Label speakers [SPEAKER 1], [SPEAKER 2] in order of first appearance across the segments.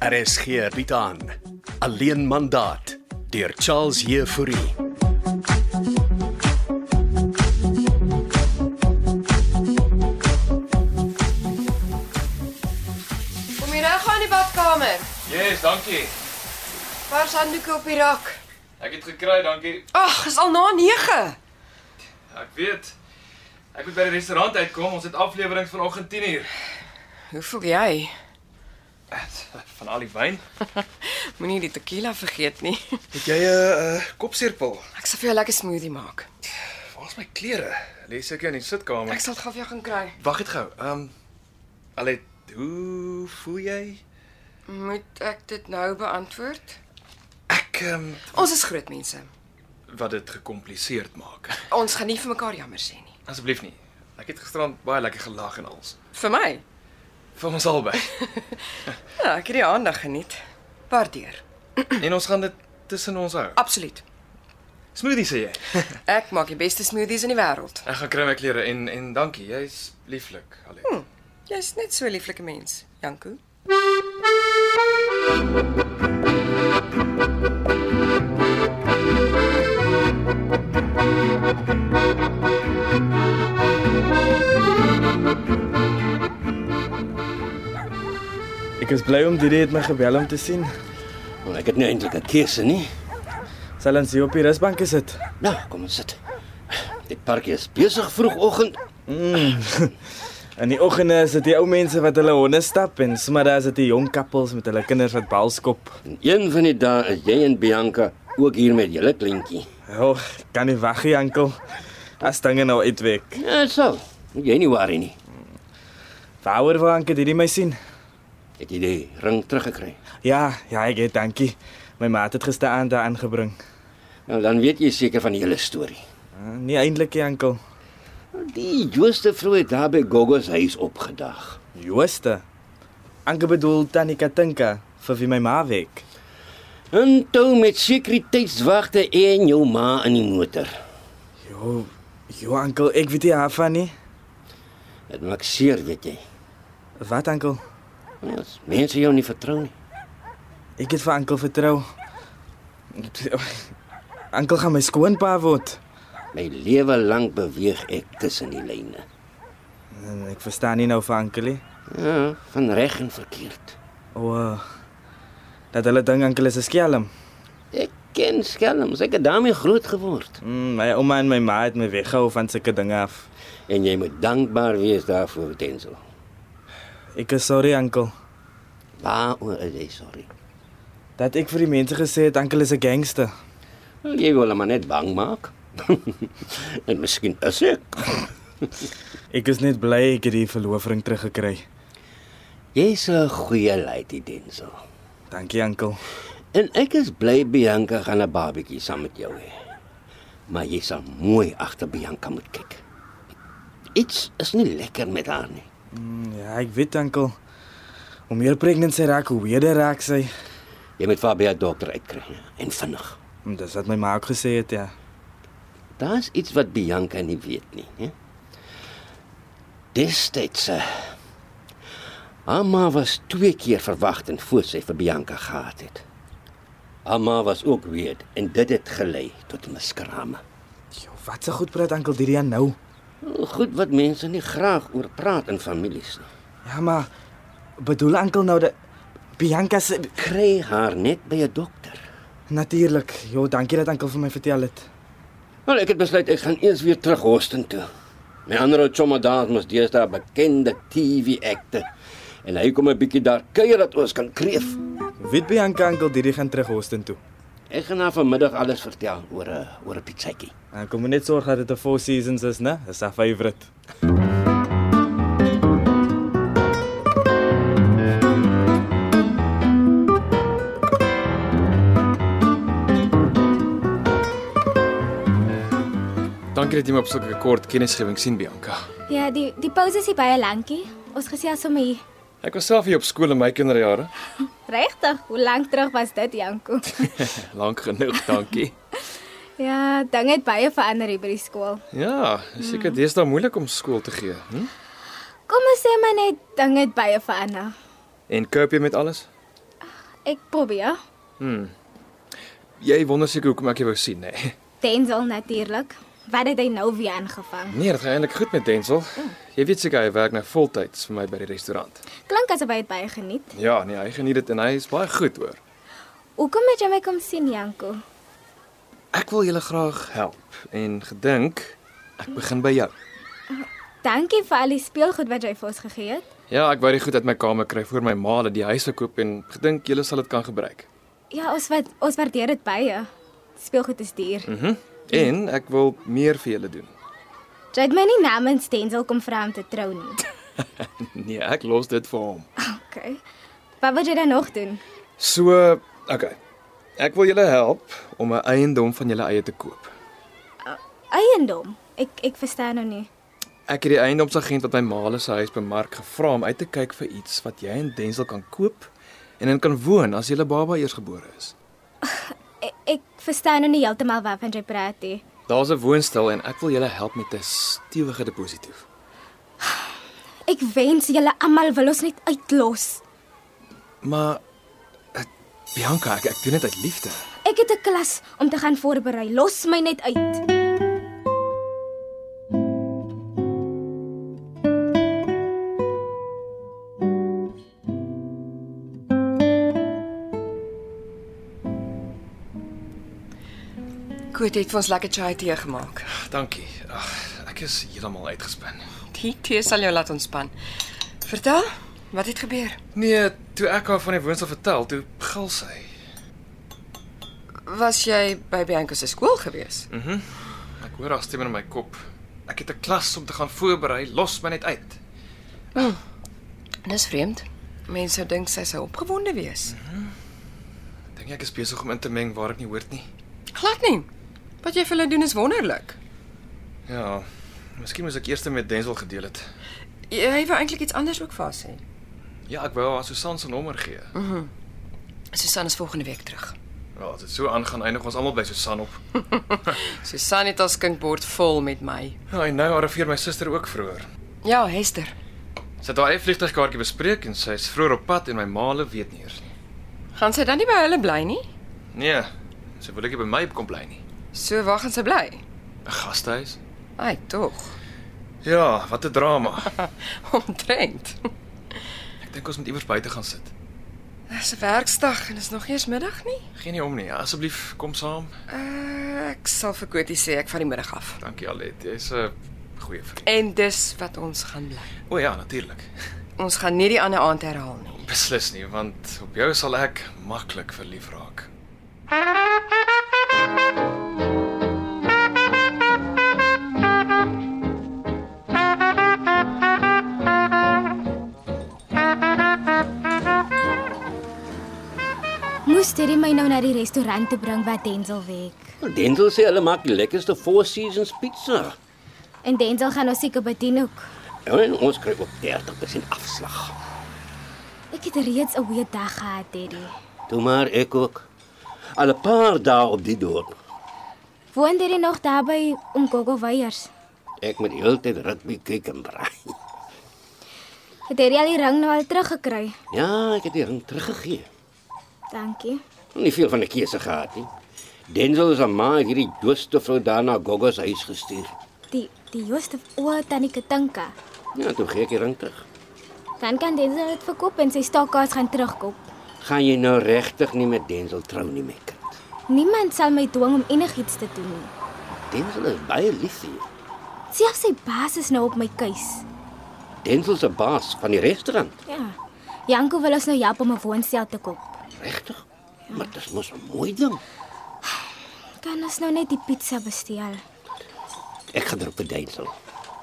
[SPEAKER 1] RSG bied aan Alleen mandaat deur Charles Heffouri.
[SPEAKER 2] Kom hier reg aan die badkamer.
[SPEAKER 3] Yes, dankie.
[SPEAKER 2] Waar is handdoeke op die rak?
[SPEAKER 3] Ek het gekry, dankie.
[SPEAKER 2] Ag, is al na 9.
[SPEAKER 3] Ek weet. Ek moet by die restaurant uitkom. Ons het aflewering vanoggend 10uur.
[SPEAKER 2] Hoe voel jy?
[SPEAKER 3] Van al die wyn.
[SPEAKER 2] Moenie die tequila vergeet nie.
[SPEAKER 3] Het jy 'n uh, kopseerpil?
[SPEAKER 2] Ek sal vir jou 'n lekker smoothie maak.
[SPEAKER 3] Waar's my klere? Lê seker in die sitkamer.
[SPEAKER 2] Ek sal dit gou vir jou gaan kry.
[SPEAKER 3] Wag dit gou. Ehm um, Alet, hoe voel jy?
[SPEAKER 2] Moet ek dit nou beantwoord?
[SPEAKER 3] Ek ehm um,
[SPEAKER 2] Ons is groot mense.
[SPEAKER 3] wat dit gekompliseerd maak.
[SPEAKER 2] Ons gaan nie vir mekaar jammer sê nie.
[SPEAKER 3] Asseblief nie. Ek het gisterand baie lekker gelag en als.
[SPEAKER 2] Vir my.
[SPEAKER 3] Vir ons albei.
[SPEAKER 2] Ja, ek het die aandag geniet. Waardeer.
[SPEAKER 3] en ons gaan dit tussen ons hou.
[SPEAKER 2] Absoluut.
[SPEAKER 3] Smoothie sê jy.
[SPEAKER 2] Ek maak die beste smoothies in die wêreld.
[SPEAKER 3] Ek gaan kry my klere en en dankie. Jy's lieflik, Alet. Hm.
[SPEAKER 2] Jy's net so 'n lieflike mens, Janko.
[SPEAKER 4] Ek is bly om Didi het my gebel om te sien.
[SPEAKER 5] Want ek het nie eintlik 'n keuse nie.
[SPEAKER 4] Sal ons hier op die rusbank sit.
[SPEAKER 5] Nou, kom ons sit. Die parkie is besig vroegoggend.
[SPEAKER 4] In die oggende is dit die ou mense wat hulle honde stap en sommer is dit die jong koppels met hulle kinders wat bal skop.
[SPEAKER 5] En een van die dae is jy en Bianca ook hier met julle kleintjie.
[SPEAKER 4] O, oh, kan nie wag nie, oom. As dinge nou uitwerk.
[SPEAKER 5] Ja, so. Moet jy nie worry nie.
[SPEAKER 4] Waaroor wou oom Didi my sien?
[SPEAKER 5] Het jy die ring teruggekry?
[SPEAKER 4] Ja, ja, ek het dankie. My ma het dit gisteraand daar aangebring.
[SPEAKER 5] Nou dan weet jy seker van die hele storie.
[SPEAKER 4] Uh, nie eintlik nie, oom.
[SPEAKER 5] Die Jooste vrou het daar by Gogo se huis opgedag.
[SPEAKER 4] Jooste. Oom bedoel tannie Katinka vir wie my ma werk.
[SPEAKER 5] En toe met sekuriteitswagte en jou ma in die motor.
[SPEAKER 4] Jo, jo oom, ek weet nie daarvan nie.
[SPEAKER 5] Dit maak seer, weet jy.
[SPEAKER 4] Wat oom?
[SPEAKER 5] Ja, as mense jou nie vertrou nie.
[SPEAKER 4] Ek het vir oom vertrou. Oom gaan my skoonpa word.
[SPEAKER 5] My lewe lank beweeg ek tussen die lyne.
[SPEAKER 4] En Ek verstaan nie nou vir oom nie.
[SPEAKER 5] Ja, van reg en verkeerd.
[SPEAKER 4] O. eh, Dat hulle dink oom is 'n skelm.
[SPEAKER 5] Ek ken skelms, ek het daarmee groot geword
[SPEAKER 4] Mm, my ouma en my ma het my weggehou van sulke dinge af.
[SPEAKER 5] en jy moet dankbaar wees daarvoor, Denzel.
[SPEAKER 4] Ek is sorry oom
[SPEAKER 5] Waaroor is jy sorry?
[SPEAKER 4] dat ek vir die mense gesê het oom is 'n gangster.
[SPEAKER 5] Wel, Jy wil hom maar net bang maak. en miskien is ek.
[SPEAKER 4] Ek is net bly ek het die verloofring teruggekry.
[SPEAKER 5] Jy's 'n goeie laaitie, Denzel.
[SPEAKER 4] Dankie oom.
[SPEAKER 5] En ek is bly Bianca gaan 'n babatjie saam met jou hê. Maar jy sal mooi agter Bianca moet kyk. Iets is nie lekker met haar nie.
[SPEAKER 4] Mm, ja, ek weet oom. Hoe meer pregnant sy raak, hoe weerder raak sy.
[SPEAKER 5] Jy moet vir haar by 'n dokter uitkry en vinnig.
[SPEAKER 4] Mm, Dis wat my ma ook gesê het, ja.
[SPEAKER 5] Daar's iets wat Bianca nie weet nie, hè? Destyds uh, Amma was twee keer verwag en voor sy vir Bianca gehad het. Amma was ook weet en dit het gelei tot miskrame.
[SPEAKER 4] Jo, wat 'n goed praat oom Dirian nou.
[SPEAKER 5] Goed wat mense nie graag oor praat in families nie.
[SPEAKER 4] Ja, maar bedoel oom nou dat Bianca se
[SPEAKER 5] Kry haar net by 'n dokter.
[SPEAKER 4] Natuurlik. Jo, dankie dat oom vir my vertel het.
[SPEAKER 5] Wel, ek het besluit ek gaan eers weer terug Houston toe. My ander ou chomma daar mos deesdae 'n bekende TV-akte en hy kom 'n bietjie daar kuier dat ons kan kreef.
[SPEAKER 4] Weet Bianca oom Diri gaan terug Houston toe.
[SPEAKER 5] Ek gaan haar vanmiddag alles vertel oor 'n oor 'n pizzatjie.
[SPEAKER 4] En kom net sorg dat dit 'n Four Seasons is, né? Dis haar favourite.
[SPEAKER 3] Dankie dat jy my op sulke kort kennisgewing sien, Bianca.
[SPEAKER 6] Ja, die die pause is nie baie lankie. Ons gesels sommer hier.
[SPEAKER 3] Ek was self hier op skool in my kinderjare.
[SPEAKER 6] Regtig, hoe lank terug was dit, Janko?
[SPEAKER 3] Lank genoeg, dankie.
[SPEAKER 6] Ja, dinge het baie verander hier by die skool.
[SPEAKER 3] Ja, is seker deesdae moeilik om skool te gee, hm?
[SPEAKER 6] Kom ons sê maar net dinge het baie verander.
[SPEAKER 3] En cope jy met alles?
[SPEAKER 6] Ek probeer.
[SPEAKER 3] Jy wonder seker hoekom ek jou wou sien, nê? Nee.
[SPEAKER 6] Denzel natuurlik. Wat het hy nou weer aangevang?
[SPEAKER 3] nee, dit gaan eintlik goed met Denzel. Jy weet seker hy werk nou voltyds vir my by die restaurant.
[SPEAKER 6] Klink asof hy dit baie geniet.
[SPEAKER 3] Ja, nee, hy geniet dit en hy is baie goed hoor.
[SPEAKER 6] Hoekom het jy my kom sien, Janko?
[SPEAKER 3] Ek wil julle graag help en gedink ek begin by jou.
[SPEAKER 6] Dankie vir al die speelgoed wat jy vir ons gegee het.
[SPEAKER 3] Ja, ek wou dit goed uit my kamer kry voor my ma het die huis gekoop en gedink julle sal dit kan gebruik.
[SPEAKER 6] Ja, ons wat ons waardeer dit baie. Speelgoed is duur. Mm.
[SPEAKER 3] Mhm. Mm en ek wil meer vir julle doen.
[SPEAKER 6] Jy het my nie namens Denzel kom vra om te trou nie.
[SPEAKER 3] Nee, ek los dit vir hom.
[SPEAKER 6] Okay. Wat wil jy dan nog doen?
[SPEAKER 3] So, okay. Ek wil julle help om 'n eiendom van julle eie te koop.
[SPEAKER 6] Eiendom. Ek ek verstaan nou nie.
[SPEAKER 3] Ek het die eiendomsagent wat my ma se huis bemark gevra om uit te kyk vir iets wat jy en Denzel kan koop en in kan woon as julle baba eersgebore is.
[SPEAKER 6] Ek, ek verstaan nou nie heeltemal waarvan jy praat nie.
[SPEAKER 3] Daar's 'n woonstel en ek wil julle help met 'n stewige deposito.
[SPEAKER 6] Ek wens julle almal wil ons net uitlos.
[SPEAKER 3] Maar eh, Bianca, ek, ek doen dit uit liefde.
[SPEAKER 6] Ek het 'n klas om te gaan voorberei. Los my net uit.
[SPEAKER 2] Koet het vir ons lekker chai tee gemaak.
[SPEAKER 3] Dankie. Ag, ek is heeltemal uitgespin.
[SPEAKER 2] Die tee sal jou laat ontspan. Vertel, wat het gebeur?
[SPEAKER 3] Nee, toe ek haar van die woonstel vertel, toe gil sy.
[SPEAKER 2] Was jy by Bianca se skool gewees?
[SPEAKER 3] Ek hoor haar stem in my kop. Ek het 'n klas om te gaan voorberei, los my net uit.
[SPEAKER 2] Dis vreemd. Mense sou dink sy sou opgewonde wees.
[SPEAKER 3] Dink jy ek is besig om in te meng waar ek nie hoort nie?
[SPEAKER 2] Glad nie. Wat jy vir hulle doen is wonderlik.
[SPEAKER 3] Ja. Miskien moes ek eers met Denzel gedeel het.
[SPEAKER 2] Jy wou eintlik iets anders ook vir haar sê.
[SPEAKER 3] Ja, ek wou haar Susan se nommer gee.
[SPEAKER 2] Susan is volgende week terug.
[SPEAKER 3] Ja, as dit so aangaan, eindig ons almal by Susan op.
[SPEAKER 2] Susan het ons skinkbord vol met my.
[SPEAKER 3] Ja, en nou arriveer my suster ook vroeër.
[SPEAKER 2] Ja, Hester.
[SPEAKER 3] Sy het haar eie vliegtuigkaartjie bespreek en sy is vroeër op pad en my maale weet nie eers nie.
[SPEAKER 2] Gaan sy dan nie by hulle bly nie?
[SPEAKER 3] Nee, sy wil ek by my kom bly nie.
[SPEAKER 2] So waar gaan sy bly?
[SPEAKER 3] 'n Gastehuis?
[SPEAKER 2] Ai, tog.
[SPEAKER 3] Ja, wat 'n drama.
[SPEAKER 2] Omtrent.
[SPEAKER 3] Ek dink ons moet iewers buite gaan sit.
[SPEAKER 2] Dis 'n werksdag en is nog eers middag nie.
[SPEAKER 3] Geen nie om nie. Asseblief, kom saam.
[SPEAKER 2] Uh, ek sal vir Kotie sê ek vat die middag af.
[SPEAKER 3] Dankie Alet. Jy's 'n goeie vriend.
[SPEAKER 2] En dis wat ons gaan bly.
[SPEAKER 3] O ja, natuurlik.
[SPEAKER 2] Ons gaan nie die ander aand herhaal nie.
[SPEAKER 3] Beslis nie, want op jou sal ek maklik verlief raak.
[SPEAKER 6] Moes dit my nou na die restaurant toe bring waar Denzel werk.
[SPEAKER 5] Wel, Denzel sê hulle maak die lekkerste Four Seasons pizza. Ja,
[SPEAKER 6] En Denzel gaan ons seker bedien ook.
[SPEAKER 5] En ons kry ook 30% afslag.
[SPEAKER 6] Ek het reeds 'n goeie dag gehad, Daddy.
[SPEAKER 5] Toe maar ek ook al 'n paar dae op die dorp.
[SPEAKER 6] Woon Daddy nog daarby om Gogo weiers?
[SPEAKER 5] Ek moet heeltyd rugby kyk en braai.
[SPEAKER 6] Het Daddy al die ring nou al teruggekry?
[SPEAKER 5] Ja, ek het die ring teruggegee.
[SPEAKER 6] Dankie.
[SPEAKER 5] Nie veel van 'n keuse gehad nie. Denzel se ma het hierdie doodste vrou daarna Gogo se huis gestuur.
[SPEAKER 6] Die die Jooste o tannie Katinka.
[SPEAKER 5] Ja, toe gee ek die ring terug.
[SPEAKER 6] Dan kan Denzel dit verkoop en sy stakkaas gaan terugkoop.
[SPEAKER 5] Gaan jy nou regtig nie met Denzel trou nie, my kind?
[SPEAKER 6] Niemand sal my dwing om enigiets te doen nie.
[SPEAKER 5] Denzel is baie lief vir jou.
[SPEAKER 6] Selfs sy baas is nou op my keus.
[SPEAKER 5] Denzel se baas van die restaurant,
[SPEAKER 6] Ja. Janko wil ons nou help om 'n woonstel te koop.
[SPEAKER 5] regtig? Maar dit mos 'n mooi ding.
[SPEAKER 6] Kan ons nou net die pizza bestel?
[SPEAKER 5] Ek gaan er dink vir Denzel.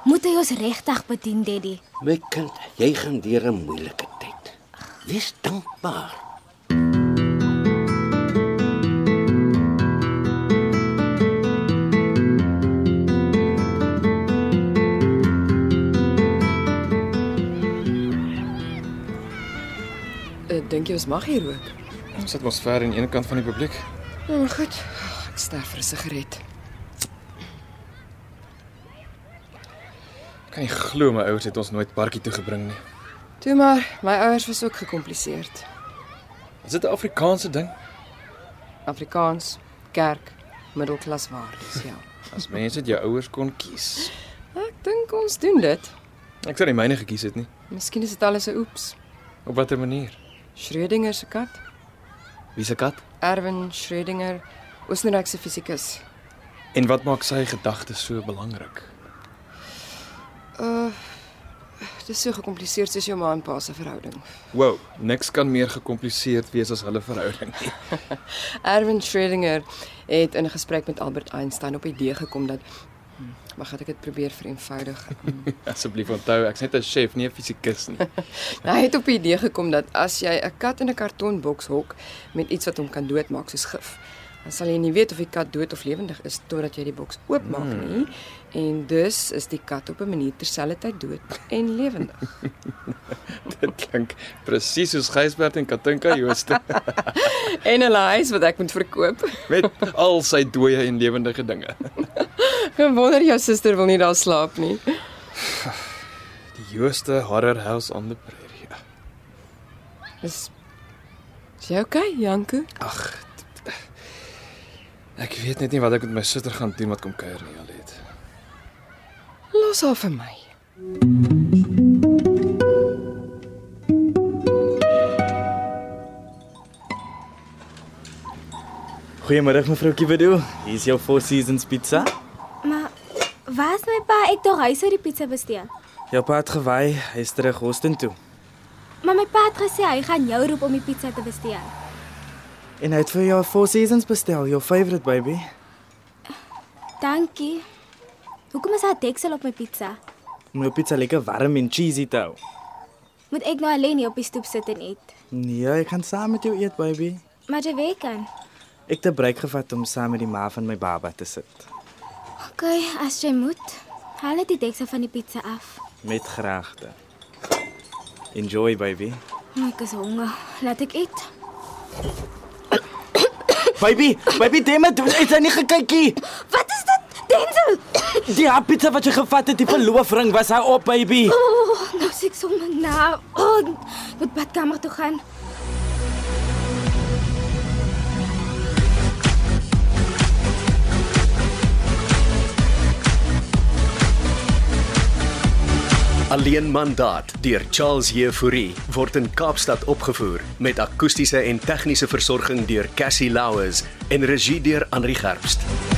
[SPEAKER 6] Moet hy ons regtig bedien, Daddy?
[SPEAKER 5] My kind, jy gaan deur 'n moeilike tyd. Wees dankbaar.
[SPEAKER 2] Ek Eh, dink jy ons mag hier rook. Ja,
[SPEAKER 3] Ons sit mos ver aan die een kant van die publiek.
[SPEAKER 2] Oh, goed. Ag, Ek sterf vir 'n sigaret.
[SPEAKER 3] Kan jy glo my ouers het ons nooit parkie toe gebring nie.
[SPEAKER 2] Toe maar, my ouers was ook gekompliseerd.
[SPEAKER 3] Is dit 'n Afrikaanse ding?
[SPEAKER 2] Afrikaans, kerk, middelklas waardes, ja.
[SPEAKER 3] As mense dit jou ouers kon kies.
[SPEAKER 2] Ek dink ons doen dit.
[SPEAKER 3] Ek sou nie myne gekies het nie.
[SPEAKER 2] Miskien is dit alles 'n oeps.
[SPEAKER 3] Op watter manier?
[SPEAKER 2] Schrödinger se kat,
[SPEAKER 3] Wie se kat?
[SPEAKER 2] Erwin Schrödinger, Oostenrykse fisikus.
[SPEAKER 3] En wat maak sy gedagtes so belangrik?
[SPEAKER 2] Uh dis so gekompliseerd soos jou ma en pa se verhouding.
[SPEAKER 3] Wow, niks kan meer gekompliseerd wees as hulle verhouding nie.
[SPEAKER 2] Erwin Schrödinger het in 'n gesprek met Albert Einstein op die idee gekom dat Hmm, wag, het ek dit probeer vereenvoudig. Hmm.
[SPEAKER 3] Asseblief onthou, ek's net 'n chef, nie 'n fisikus nie.
[SPEAKER 2] Hy het op die idee gekom dat as jy 'n kat in 'n kartonboks hok met iets wat hom kan doodmaak soos gif, dan sal jy nie weet of die kat dood of lewendig is totdat jy die boks oopmaak nie. En dus is die kat op 'n manier terselfdertyd dood en lewendig.
[SPEAKER 3] Dit klink presies soos Gysbert en Katinka Jooste
[SPEAKER 2] en 'n huis wat ek moet verkoop.
[SPEAKER 3] met al sy dooie en lewendige dinge.
[SPEAKER 2] Wonder jou suster wil nie daar slaap nie.
[SPEAKER 3] Die Jooste Horror House on the Prairie. Ja,
[SPEAKER 2] Is Is jy okay, Janko?
[SPEAKER 3] Ek weet net nie wat ek met my suster gaan doen wat kom kuier nie, Alet.
[SPEAKER 2] Los haar vir my.
[SPEAKER 4] Goeiemôre mevrou Kibedo. Hier is jou Four Seasons pizza.
[SPEAKER 6] Maar waar's my pa? Ek dink hy sou die pizza bestel.
[SPEAKER 4] Jou pa het gewaai, hy is terug Houston toe.
[SPEAKER 6] Maar my pa het gesê hy gaan jou roep om die pizza te bestel.
[SPEAKER 4] En hy het vir jou Four Seasons bestel, jou favorite baby.
[SPEAKER 6] Dankie. Hoekom is daar deksel op my pizza?
[SPEAKER 4] Om jou pizza lekker warm en cheesy te hou.
[SPEAKER 6] Moet ek nou alleen hier op die stoep sit en eet?
[SPEAKER 4] Nee, ek gaan saam met jou eet baby.
[SPEAKER 6] Maar jy weet kan.
[SPEAKER 4] Ek het 'n break gevat om saam met die ma van my baba te sit.
[SPEAKER 6] OK, as jy moet. Haal net die deksel van die pizza af.
[SPEAKER 4] Met graagte. Enjoy baby.
[SPEAKER 6] Maar ek is honger. Laat ek eet.
[SPEAKER 4] Baby, baby, dit moet dit is nie gekykie.
[SPEAKER 6] Wat is dit? Denzel.
[SPEAKER 4] Die haar pizza wat jy gevat het, die verloofring was haar op baby.
[SPEAKER 6] Oh, nou sê ek sommer na. Oh, ek moet badkamer toe gaan.
[SPEAKER 1] Alleen mandaat deur Charles Jefouri word in Kaapstad opgevoer met akoestiese en tegniese versorging deur Cassie Louws en regie deur Henri Gerst.